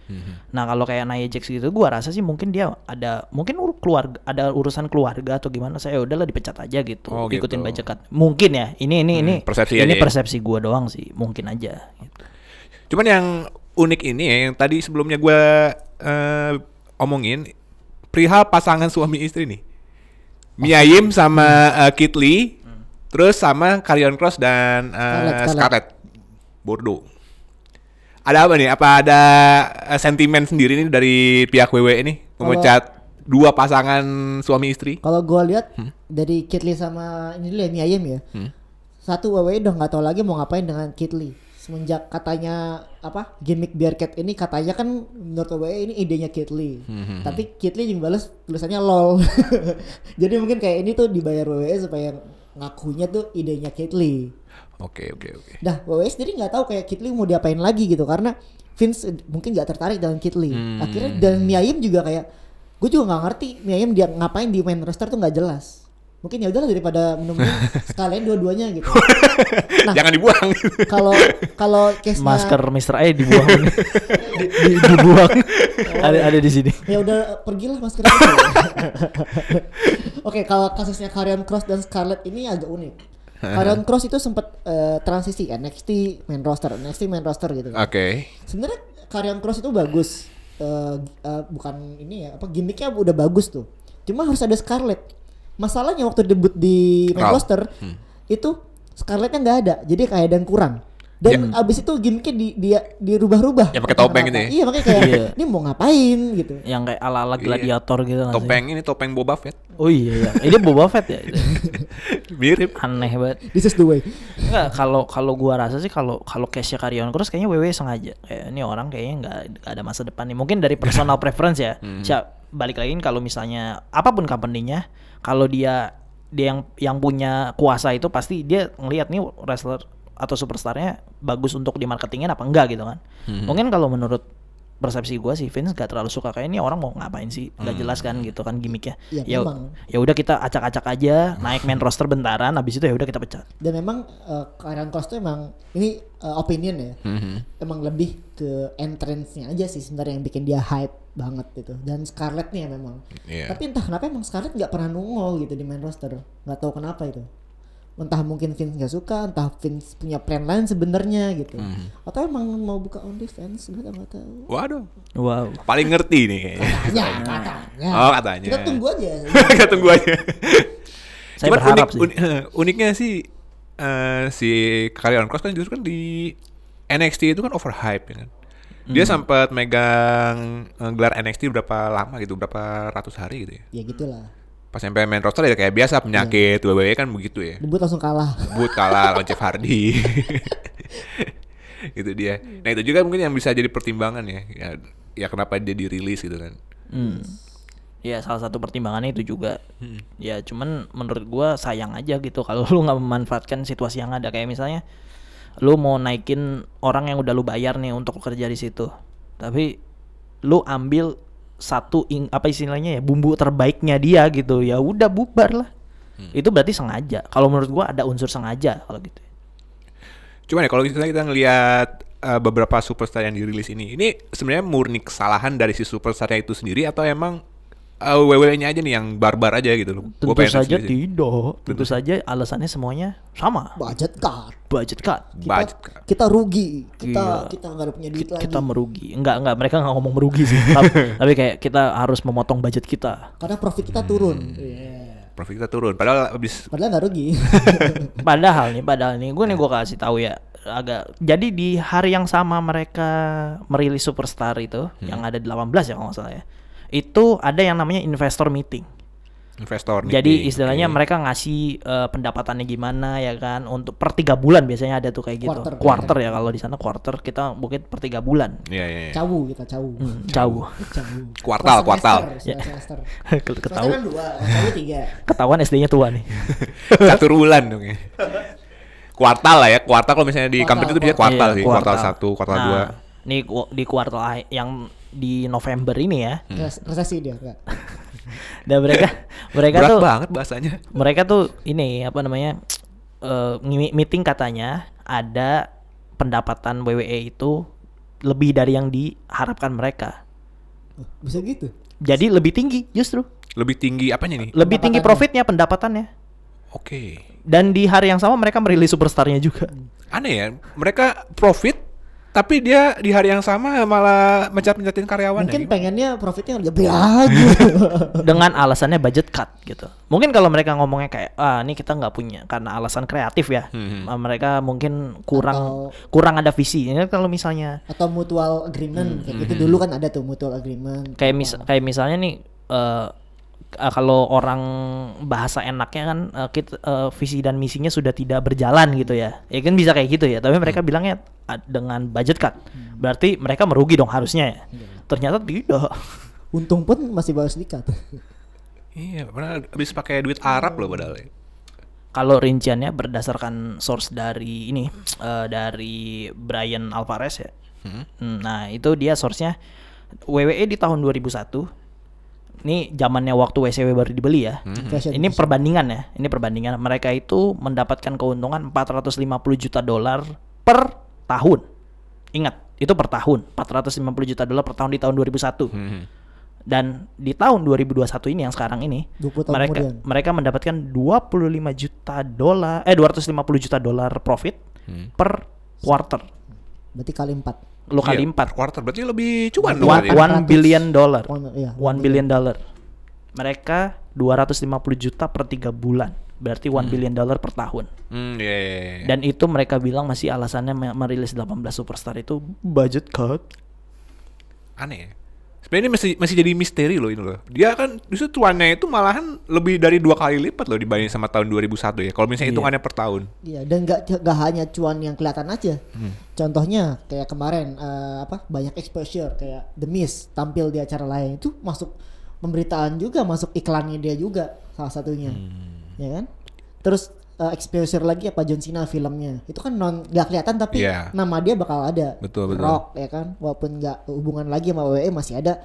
[SPEAKER 3] Nah kalau kayak Nia Jax gitu, gua rasa sih mungkin dia ada mungkin ur- keluarga ada urusan keluarga atau gimana. Saya ya udahlah dipecat aja gitu,
[SPEAKER 1] Oh, gitu.
[SPEAKER 3] ikutin bajakan. Mungkin ya, ini ini ini
[SPEAKER 1] persepsi
[SPEAKER 3] ini
[SPEAKER 1] aja ya.
[SPEAKER 3] persepsi gua doang sih, mungkin aja. Gitu.
[SPEAKER 1] Cuman yang unik ini ya, yang tadi sebelumnya gua eh, omongin perihal pasangan suami istri nih. Miayim sama eh, Kit Lee, terus sama Karyon Cross dan eh,
[SPEAKER 2] Hmm. Scarlett, Scarlett.
[SPEAKER 1] Scarlett Bordeaux. Ada apa nih? Apa ada eh, sentimen sendiri nih dari pihak WWE nih
[SPEAKER 2] Kalau-
[SPEAKER 1] memecat dua pasangan suami istri?
[SPEAKER 2] kalau gua lihat dari Kitli sama ini dulu ya Mia Yim ya satu WWE udah nggak tahu lagi mau ngapain dengan Kitli semenjak katanya apa gimmick Bearcat ini katanya kan menurut WWE ini idenya Kitli tapi Kitli yang balas tulisannya lol jadi mungkin kayak ini tuh dibayar WWE supaya ngakunya tuh idenya Kitli
[SPEAKER 1] Oke, oke, oke.
[SPEAKER 2] Dah, WWE sendiri nggak tahu kayak Kitli mau diapain lagi gitu karena Vince eh, mungkin nggak tertarik dengan Kitli. Akhirnya dan Miayim juga kayak gue juga nggak ngerti Miayim dia ngapain di main roster tuh nggak jelas. Mungkin ya udahlah daripada menemuin sekalian dua-duanya gitu. Nah.
[SPEAKER 1] Jangan dibuang.
[SPEAKER 2] Kalau kalau case
[SPEAKER 3] Masker Mr. A dibuang, Di- di- dibuang. ada ada di sini.
[SPEAKER 2] ya udah pergilah maskernya. Oke, kalau kasusnya Karrion Cross dan Scarlett ini agak unik. Karrion Cross itu sempat transisi NXT main roster, NXT main roster gitu.
[SPEAKER 1] Oke.
[SPEAKER 2] sebenarnya karya cross itu bagus Eh, eh, bukan ini ya apa gimmicknya udah bagus tuh cuma harus ada Scarlett masalahnya waktu debut di main
[SPEAKER 1] Raw.
[SPEAKER 2] roster itu Scarlettnya nggak ada jadi kayak ada yang kurang dan abis itu gimmicknya di, dia dirubah-rubah
[SPEAKER 1] Ya, pakai topeng gitu ya?
[SPEAKER 2] iya makanya kayak
[SPEAKER 3] Iya.
[SPEAKER 2] ini mau ngapain gitu
[SPEAKER 3] Yang kayak ala-ala gladiator gitu nggak sih?
[SPEAKER 1] Topeng ini topeng Boba Fett.
[SPEAKER 3] Oh iya, iya. ini Boba Fett ya.
[SPEAKER 1] Mirip.
[SPEAKER 3] Aneh banget.
[SPEAKER 2] this is the way
[SPEAKER 3] Enggak, kalau kalau gua rasa sih kalau kalau case Karyon Cross kayaknya WWE sengaja. Kayak ini orang kayaknya nggak nggak ada masa depan nih. Mungkin dari personal preference ya. Siap balik lagi kalau misalnya apapun company-nya, kalau dia dia yang yang punya kuasa itu pasti dia ngelihat nih wrestler atau superstarnya bagus untuk di marketingin apa enggak gitu kan. Mungkin kalau menurut persepsi gua sih Vince gak terlalu suka kayak ini orang mau ngapain sih nggak jelas kan gitu kan gimmicknya
[SPEAKER 2] Iya,
[SPEAKER 3] ya
[SPEAKER 2] memang.
[SPEAKER 3] ya udah kita acak-acak aja naik main roster bentaran habis itu ya udah kita pecat
[SPEAKER 2] dan memang eh, Karyan Cross tuh emang ini eh, opinion ya emang lebih ke entrance-nya aja sih sebenarnya yang bikin dia hype banget gitu dan Scarlett nih ya memang
[SPEAKER 1] Iya.
[SPEAKER 2] tapi entah kenapa emang Scarlett nggak pernah nongol gitu di main roster nggak tahu kenapa itu entah mungkin Vince nggak suka entah Vince punya plan lain sebenarnya gitu
[SPEAKER 1] Hmm.
[SPEAKER 2] atau emang mau buka on defense gue nggak tahu
[SPEAKER 1] Waduh.
[SPEAKER 3] wow
[SPEAKER 1] Paling ngerti nih kayaknya.
[SPEAKER 2] katanya katanya
[SPEAKER 1] Oh, katanya.
[SPEAKER 2] kita tunggu aja
[SPEAKER 1] Kita tunggu aja.
[SPEAKER 3] Saya
[SPEAKER 1] Cuman
[SPEAKER 3] berharap
[SPEAKER 1] unik,
[SPEAKER 3] sih.
[SPEAKER 1] uni- eh, uniknya sih eh, si Karyawan Cross kan justru kan di NXT itu kan overhype ya kan. Dia
[SPEAKER 3] Hmm.
[SPEAKER 1] sempat megang eh, gelar NXT berapa lama gitu, berapa ratus hari gitu ya.
[SPEAKER 2] ya gitulah
[SPEAKER 1] Pas sampai main roster ya kayak biasa
[SPEAKER 3] Iya.
[SPEAKER 1] penyakit WWE kan begitu ya.
[SPEAKER 2] debut langsung kalah
[SPEAKER 1] But kalah lawan Jeff Hardy. itu dia. Nah itu juga mungkin yang bisa jadi pertimbangan ya. Ya, ya kenapa dia dirilis gitu kan.
[SPEAKER 3] Hmm. Ya salah satu pertimbangannya itu juga.
[SPEAKER 1] Hmm.
[SPEAKER 3] Ya cuman menurut gua sayang aja gitu kalau lu nggak memanfaatkan situasi yang ada kayak misalnya lu mau naikin orang yang udah lu bayar nih untuk kerja di situ. Tapi lu ambil satu ing, apa istilahnya ya bumbu terbaiknya dia gitu. Ya udah bubar lah.
[SPEAKER 1] Hmm.
[SPEAKER 3] Itu berarti sengaja. Kalau menurut gua ada unsur sengaja kalau gitu.
[SPEAKER 1] Cuman ya kalau misalnya kita ngelihat eh, beberapa superstar yang dirilis ini, ini sebenarnya murni kesalahan dari si superstarnya itu sendiri atau emang eh, WWE-nya aja nih yang barbar aja gitu loh. Gua
[SPEAKER 3] Tentu
[SPEAKER 1] pengen
[SPEAKER 3] saja
[SPEAKER 1] sendiri sih.
[SPEAKER 3] tidak. Tentu saja alasannya semuanya sama.
[SPEAKER 2] budget cut
[SPEAKER 3] Budget cut.
[SPEAKER 2] kita,
[SPEAKER 1] Budget cut.
[SPEAKER 2] kita rugi
[SPEAKER 3] Iya.
[SPEAKER 2] kita kita nggak ada punya duit
[SPEAKER 3] kita,
[SPEAKER 2] lagi
[SPEAKER 3] kita merugi enggak enggak mereka nggak ngomong merugi sih tapi, tapi kayak kita harus memotong budget kita
[SPEAKER 2] karena profit kita turun
[SPEAKER 1] Hmm.
[SPEAKER 2] Iya.
[SPEAKER 1] Profit kita turun. Padahal abis
[SPEAKER 2] padahal nggak rugi
[SPEAKER 3] padahal nih padahal nih gue nih gue kasih tahu ya agak jadi di hari yang sama mereka merilis superstar itu yang ada di 18 ya kalau nggak salah ya itu ada yang namanya investor meeting
[SPEAKER 1] investor nih.
[SPEAKER 3] jadi istilahnya mereka ngasih eh, pendapatannya gimana ya kan untuk per tiga bulan biasanya ada tuh kayak gitu
[SPEAKER 2] Quarter.
[SPEAKER 3] quarter, ya kalau di sana quarter kita mungkin per tiga bulan
[SPEAKER 1] Iya, iya, iya.
[SPEAKER 2] cawu kita cawu
[SPEAKER 3] Hmm, Ya. jauh
[SPEAKER 2] cawu
[SPEAKER 1] Kuartal,
[SPEAKER 2] Per
[SPEAKER 1] kuartal.
[SPEAKER 2] semester, semester. semester
[SPEAKER 3] ketahuan
[SPEAKER 2] kan dua kalau cawu tiga
[SPEAKER 3] ketahuan SD-nya tua nih
[SPEAKER 1] Satu bulan dong ya. Kuartal lah ya, kuartal kalau misalnya di
[SPEAKER 2] Kuartal,
[SPEAKER 1] company itu biasanya kuartal
[SPEAKER 3] Iya,
[SPEAKER 1] sih, kuartal satu, kuartal
[SPEAKER 3] Nah,
[SPEAKER 1] dua.
[SPEAKER 3] Ini ku- di kuartal akhir- yang di November ini ya.
[SPEAKER 1] Hmm.
[SPEAKER 2] Res- resesi dia enggak
[SPEAKER 3] Dan mereka mereka
[SPEAKER 1] Berat
[SPEAKER 3] tuh
[SPEAKER 1] banget bahasanya.
[SPEAKER 3] mereka tuh ini apa namanya? eh, ngi- meeting katanya ada pendapatan WWE itu lebih dari yang diharapkan mereka.
[SPEAKER 2] bisa gitu
[SPEAKER 3] Jadi lebih tinggi justru.
[SPEAKER 1] Lebih tinggi apanya nih?
[SPEAKER 3] Lebih tinggi
[SPEAKER 2] Pendapatannya.
[SPEAKER 3] profitnya, pendapatannya.
[SPEAKER 1] Oke.
[SPEAKER 3] Dan di hari yang sama mereka merilis superstarnya juga.
[SPEAKER 1] Aneh ya, mereka profit tapi dia di hari yang sama malah mencat-mencatin karyawan ya.
[SPEAKER 2] mungkin pengennya profitnya lebih lagi
[SPEAKER 3] dengan alasannya budget cut gitu. Mungkin kalau mereka ngomongnya kayak ah ini kita nggak punya karena alasan kreatif ya. Ah, Mereka mungkin
[SPEAKER 2] Atau-
[SPEAKER 3] kurang kurang ada visi. Ini kalau misalnya
[SPEAKER 2] atau mutual
[SPEAKER 1] Hmm.
[SPEAKER 2] agreement kayak gitu dulu kan ada tuh mutual agreement
[SPEAKER 3] kayak mis kayak misalnya nih eh, ah, kalau orang bahasa enaknya kan eh, kita eh, visi dan misinya sudah tidak berjalan gitu ya. Ya kan bisa kayak gitu ya. Tapi mereka bilangnya ah, dengan budget cut. Berarti mereka merugi dong harusnya ya. Ternyata tidak.
[SPEAKER 2] untung pun masih baru sedikit
[SPEAKER 1] Iya, pernah habis pakai duit Arab loh padahal. ya.
[SPEAKER 3] kalau rinciannya berdasarkan source dari ini eh, dari Brian Alvarez ya. Hmm, Nah, itu dia source-nya WWE di tahun 2001. Ini zamannya waktu WCW baru dibeli ya.
[SPEAKER 2] Fashion
[SPEAKER 3] Ini perbandingan ya. Ini perbandingan mereka itu mendapatkan keuntungan 450 juta dolar per tahun. Ingat, itu per tahun. 450 juta dolar per tahun di tahun 2001. Dan di tahun 2021 ini yang sekarang ini
[SPEAKER 2] 20 tahun
[SPEAKER 3] mereka
[SPEAKER 2] kemudian.
[SPEAKER 3] mereka mendapatkan 25 juta dolar eh 250 juta dolar profit
[SPEAKER 1] Hmm.
[SPEAKER 3] per quarter.
[SPEAKER 2] berarti kali empat
[SPEAKER 3] Lu kali
[SPEAKER 1] Iya, per
[SPEAKER 3] 4.
[SPEAKER 1] Kuartal berarti lebih cuan dong.
[SPEAKER 3] One,
[SPEAKER 1] berarti.
[SPEAKER 2] One-
[SPEAKER 3] one billion dollar.
[SPEAKER 2] One- iya,
[SPEAKER 3] 1 billion dollar. Mereka 250 juta per 3 bulan. Berarti 1 billion dollar per tahun.
[SPEAKER 1] Hmm, iya, iya, Hmm. iya.
[SPEAKER 3] Dan itu mereka bilang masih alasannya me- merilis 18 superstar itu budget cut.
[SPEAKER 1] Aneh ya. Sebenarnya ini masih masih jadi misteri loh ini loh. Dia kan justru cuannya itu malahan lebih dari dua kali lipat loh dibanding sama tahun 2001 ya. Kalau misalnya hitungannya per tahun.
[SPEAKER 2] Iya, dan gak, gak hanya cuan yang kelihatan aja.
[SPEAKER 1] Hmm.
[SPEAKER 2] Contohnya kayak kemarin eh, apa banyak exposure kayak The Mist tampil di acara lain itu masuk pemberitaan juga, masuk iklannya dia juga salah satunya,
[SPEAKER 1] Hmm.
[SPEAKER 2] ya kan? Terus eh, exposure lagi apa John Cena filmnya itu kan non gak kelihatan tapi
[SPEAKER 1] Iya.
[SPEAKER 2] nama dia bakal ada.
[SPEAKER 1] Betul, betul.
[SPEAKER 2] Rock ya kan, walaupun gak hubungan lagi sama WWE masih ada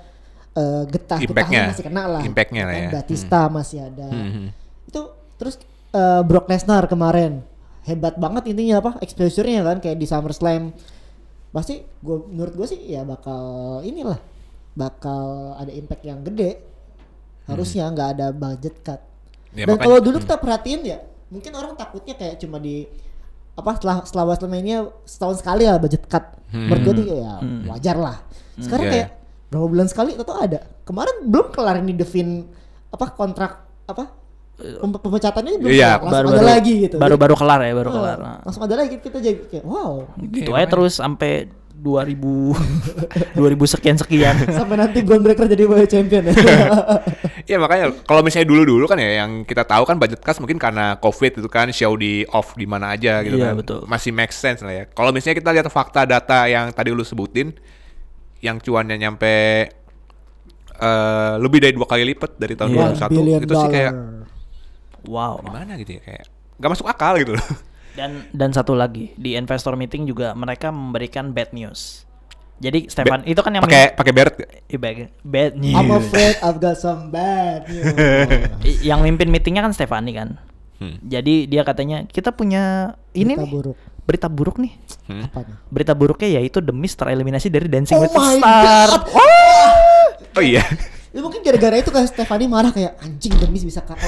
[SPEAKER 2] eh, getah
[SPEAKER 1] Impact-nya.
[SPEAKER 2] getahnya masih kena lah.
[SPEAKER 1] Impact-nya lah
[SPEAKER 2] Kan
[SPEAKER 1] ya.
[SPEAKER 2] Batista masih ada
[SPEAKER 1] Hmm,
[SPEAKER 2] itu terus eh, Brock Lesnar kemarin hebat banget intinya apa exposure-nya kan kayak di SummerSlam pasti gua menurut gue sih ya bakal inilah bakal ada impact yang gede harusnya nggak ada budget cut
[SPEAKER 1] Hmm. Ya,
[SPEAKER 2] dan
[SPEAKER 1] makanya-
[SPEAKER 2] kalau dulu kita perhatiin ya mungkin orang takutnya kayak cuma di apa setelah setelah WrestleMania setahun sekali lah budget cut menurut gue tuh ya wajar lah sekarang
[SPEAKER 1] Ya,
[SPEAKER 2] kayak berapa bulan sekali atau ada kemarin belum kelar nih Devin apa kontrak apa pem- pemecatannya belum
[SPEAKER 1] Iya,
[SPEAKER 2] kelar, langsung
[SPEAKER 3] baru
[SPEAKER 2] ada
[SPEAKER 3] baru
[SPEAKER 2] lagi gitu.
[SPEAKER 3] baru baru kelar ya baru
[SPEAKER 2] Ah,
[SPEAKER 3] kelar Nah,
[SPEAKER 2] Langsung ada lagi kita jadi kayak wow.
[SPEAKER 3] gitu
[SPEAKER 1] Iya,
[SPEAKER 3] aja terus sampai 2000 2000 sekian sekian
[SPEAKER 2] Sampai nanti Gone Breaker jadi world champion ya.
[SPEAKER 1] Iya makanya kalau misalnya dulu-dulu kan ya yang kita tahu kan budget cast mungkin karena covid itu kan show di off di mana aja gitu
[SPEAKER 3] Iya,
[SPEAKER 1] kan
[SPEAKER 3] betul.
[SPEAKER 1] masih make sense lah ya. Kalau misalnya kita lihat fakta data yang tadi lu sebutin yang cuannya nyampe eh, lebih dari dua kali lipat dari tahun
[SPEAKER 3] Iya.
[SPEAKER 2] One
[SPEAKER 1] 2001
[SPEAKER 2] billion
[SPEAKER 1] itu sih kayak
[SPEAKER 2] dollar.
[SPEAKER 3] wow
[SPEAKER 1] gimana gitu ya kayak nggak masuk akal gitu loh.
[SPEAKER 3] dan dan satu lagi di investor meeting juga mereka memberikan bad news jadi Stefan itu kan yang
[SPEAKER 1] pakai pakai Barrett nggak?
[SPEAKER 3] Iya, bad, bad news
[SPEAKER 2] I'm afraid I've got some bad news.
[SPEAKER 3] I- yang mimpin meetingnya kan Stefani kan.
[SPEAKER 1] Hmm.
[SPEAKER 3] Jadi dia katanya kita punya ini
[SPEAKER 2] Berita
[SPEAKER 3] nih,
[SPEAKER 2] buruk.
[SPEAKER 3] berita buruk nih.
[SPEAKER 1] Hmm.
[SPEAKER 2] Apa nih?
[SPEAKER 3] Berita buruknya yaitu The Mist tereliminasi dari Dancing
[SPEAKER 2] Oh
[SPEAKER 3] with the
[SPEAKER 2] my
[SPEAKER 3] Star.
[SPEAKER 2] god.
[SPEAKER 1] Oh iya.
[SPEAKER 2] Ya, mungkin gara-gara itu kan Stefani marah kayak anjing demi bisa kalah.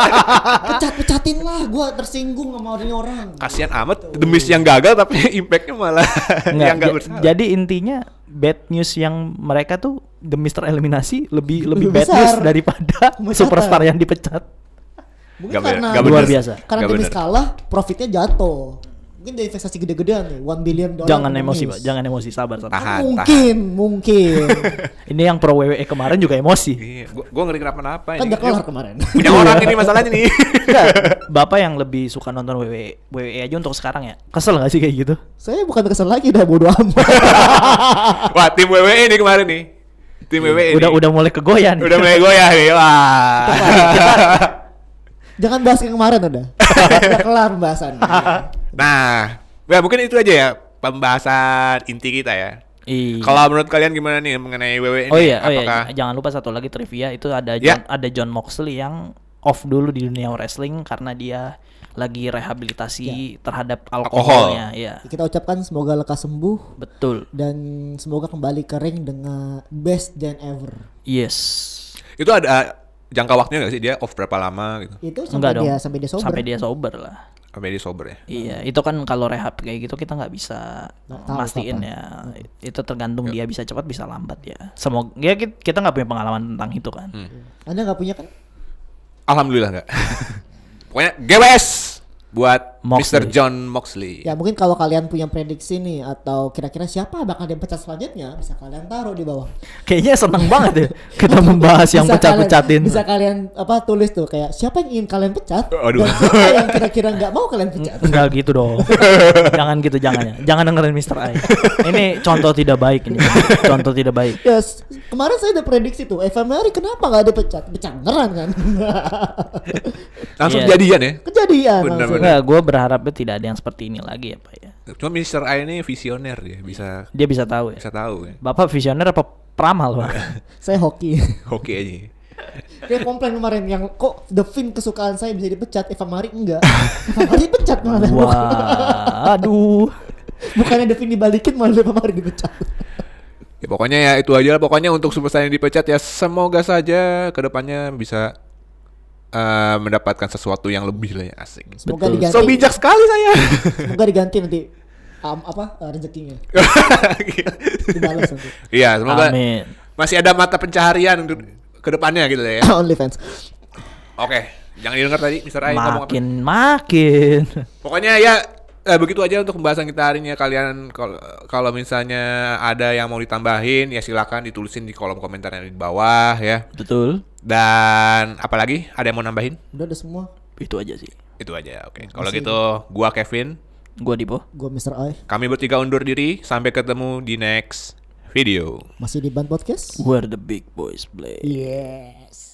[SPEAKER 2] Pecat-pecatin lah, gua tersinggung sama orang orang.
[SPEAKER 1] Kasihan amat The Mist yang gagal tapi impactnya malah
[SPEAKER 3] Nggak,
[SPEAKER 1] yang nggak
[SPEAKER 3] ja-
[SPEAKER 1] bersalah.
[SPEAKER 3] Jadi intinya bad news yang mereka tuh The Mist tereliminasi lebih lebih,
[SPEAKER 2] Lebih
[SPEAKER 3] bad
[SPEAKER 2] besar.
[SPEAKER 3] news daripada
[SPEAKER 2] Pemecatan.
[SPEAKER 3] superstar yang dipecat.
[SPEAKER 2] Mungkin
[SPEAKER 1] Nggak bener,
[SPEAKER 2] karena
[SPEAKER 1] nggak
[SPEAKER 3] bener. Luar
[SPEAKER 2] Demis-
[SPEAKER 3] biasa.
[SPEAKER 2] Karena
[SPEAKER 1] Nggak
[SPEAKER 2] Demis
[SPEAKER 1] bener.
[SPEAKER 2] kalah, profitnya jatuh. Mungkin dari investasi gede-gedean nih, 1 billion dollar.
[SPEAKER 3] Jangan
[SPEAKER 2] ke
[SPEAKER 3] emosi,
[SPEAKER 2] Demis.
[SPEAKER 3] Pak. Jangan emosi, sabar sabar.
[SPEAKER 1] Tahan.
[SPEAKER 2] mungkin, mungkin.
[SPEAKER 3] Ini yang pro WWE kemarin juga emosi.
[SPEAKER 1] Iya, gua, gua ngeri kenapa-napa ini.
[SPEAKER 2] kan
[SPEAKER 1] Iya.
[SPEAKER 2] udah kelar kemarin.
[SPEAKER 1] Punya orang ini masalahnya nih.
[SPEAKER 3] Nggak, Bapak yang lebih suka nonton E, WWE, WWE aja untuk sekarang ya. Kesel gak sih kayak gitu?
[SPEAKER 2] Saya bukan kesel lagi udah bodo amat.
[SPEAKER 1] Wah, tim WWE nih kemarin nih. Tim WWE
[SPEAKER 3] Iya. Udah
[SPEAKER 1] nih.
[SPEAKER 3] udah mulai kegoyah nih.
[SPEAKER 1] udah mulai goyah nih. Wah.
[SPEAKER 2] Jangan bahas yang kemarin udah. udah kelar pembahasan.
[SPEAKER 1] nah, ya mungkin itu aja ya pembahasan inti kita ya.
[SPEAKER 3] Iya.
[SPEAKER 1] Kalau menurut kalian gimana nih mengenai WWE
[SPEAKER 3] Oh
[SPEAKER 1] ini?
[SPEAKER 3] iya, oh iya,
[SPEAKER 1] Apakah
[SPEAKER 3] j- jangan lupa satu lagi trivia itu ada
[SPEAKER 1] Ya.
[SPEAKER 3] John, ada John Moxley yang off dulu di dunia wrestling karena dia lagi
[SPEAKER 1] Ya.
[SPEAKER 3] rehabilitasi terhadap alkoholnya, ya.
[SPEAKER 2] Kita ucapkan semoga lekas sembuh
[SPEAKER 3] Betul.
[SPEAKER 2] dan semoga kembali ke ring dengan best than ever.
[SPEAKER 3] Yes.
[SPEAKER 1] itu ada jangka waktunya nggak sih dia off berapa lama gitu?
[SPEAKER 2] Itu sampai
[SPEAKER 3] Enggak dong.
[SPEAKER 2] dia sampai dia sober.
[SPEAKER 3] Sampai dia sober lah.
[SPEAKER 1] Sampai dia sober ya.
[SPEAKER 3] Iya, itu kan kalau rehab kayak gitu kita nggak bisa
[SPEAKER 2] Nggak tahu
[SPEAKER 3] mastiin
[SPEAKER 2] kapan.
[SPEAKER 3] ya. Itu tergantung dia bisa cepat bisa lambat ya. Semoga ya kit- kita nggak punya pengalaman tentang itu kan.
[SPEAKER 2] Anda nggak punya kan?
[SPEAKER 1] Alhamdulillah enggak. Pokoknya GWS buat
[SPEAKER 3] Moxley.
[SPEAKER 1] Mr. John Moxley.
[SPEAKER 2] Ya mungkin kalau kalian punya prediksi nih atau kira-kira siapa bakal dia pecat selanjutnya bisa kalian taruh di bawah.
[SPEAKER 3] Kayaknya seneng banget ya kita membahas yang
[SPEAKER 2] Bisa kalian-
[SPEAKER 3] pecat-pecatin.
[SPEAKER 2] Bisa kalian apa tulis tuh kayak siapa yang ingin kalian pecat
[SPEAKER 1] Aduh.
[SPEAKER 2] dan siapa yang kira-kira nggak mau kalian pecat.
[SPEAKER 3] Enggak gitu dong. jangan gitu, jangan ya. Jangan dengerin Mr. I. Ini contoh tidak baik ini. Contoh tidak baik.
[SPEAKER 2] Yes, kemarin saya udah prediksi tuh FMRI kenapa nggak ada pecat? Bercandaran kan?
[SPEAKER 1] Langsung
[SPEAKER 3] Iya.
[SPEAKER 1] jadian ya.
[SPEAKER 2] Kejadian
[SPEAKER 1] Bener,
[SPEAKER 2] langsung.
[SPEAKER 3] Enggak, gue berharapnya tidak ada yang seperti ini lagi ya, Pak ya.
[SPEAKER 1] Cuma Mr. I ini visioner ya, bisa
[SPEAKER 3] Dia bisa tahu ya.
[SPEAKER 1] bisa tahu ya.
[SPEAKER 3] Bapak visioner apa pramal, Pak?
[SPEAKER 2] Saya hoki.
[SPEAKER 1] Oke aja.
[SPEAKER 2] Dia komplain kemarin yang kok The Fin kesukaan saya bisa dipecat, Eva Mari enggak. Eva Mari pecat malah.
[SPEAKER 3] Wah, aduh.
[SPEAKER 2] Bukannya The Fin dibalikin malah Eva Mari dipecat.
[SPEAKER 1] Ya pokoknya ya itu aja lah. Pokoknya untuk superstar yang dipecat ya semoga saja kedepannya bisa eh, mendapatkan sesuatu yang lebih lah ya asik.
[SPEAKER 2] Semoga
[SPEAKER 3] Betul.
[SPEAKER 2] diganti.
[SPEAKER 1] So bijak sekali saya.
[SPEAKER 2] Semoga diganti nanti um, apa uh, rezekinya dibalas nanti.
[SPEAKER 1] Iya semoga
[SPEAKER 3] Amin.
[SPEAKER 1] masih ada mata pencaharian untuk kedepannya gitu lah ya.
[SPEAKER 2] Only fans.
[SPEAKER 1] Oke, jangan didengar tadi Mr. Aing ngomong apa.
[SPEAKER 3] Makin makin.
[SPEAKER 1] Pokoknya ya eh, begitu aja untuk pembahasan kita hari ini ya. kalian kalau kalau misalnya ada yang mau ditambahin ya silakan ditulisin di kolom komentar yang ada di bawah ya.
[SPEAKER 3] Betul.
[SPEAKER 1] Dan apalagi ada yang mau nambahin?
[SPEAKER 2] Udah udah semua.
[SPEAKER 3] Itu aja sih.
[SPEAKER 1] Itu aja. Oke. Kalau gitu gua Kevin,
[SPEAKER 3] Gua Dipo.
[SPEAKER 2] Gua Mr. I
[SPEAKER 1] kami bertiga undur diri sampai ketemu di next video.
[SPEAKER 2] masih di Band Podcast.
[SPEAKER 3] Where the big boys play.
[SPEAKER 2] Yes.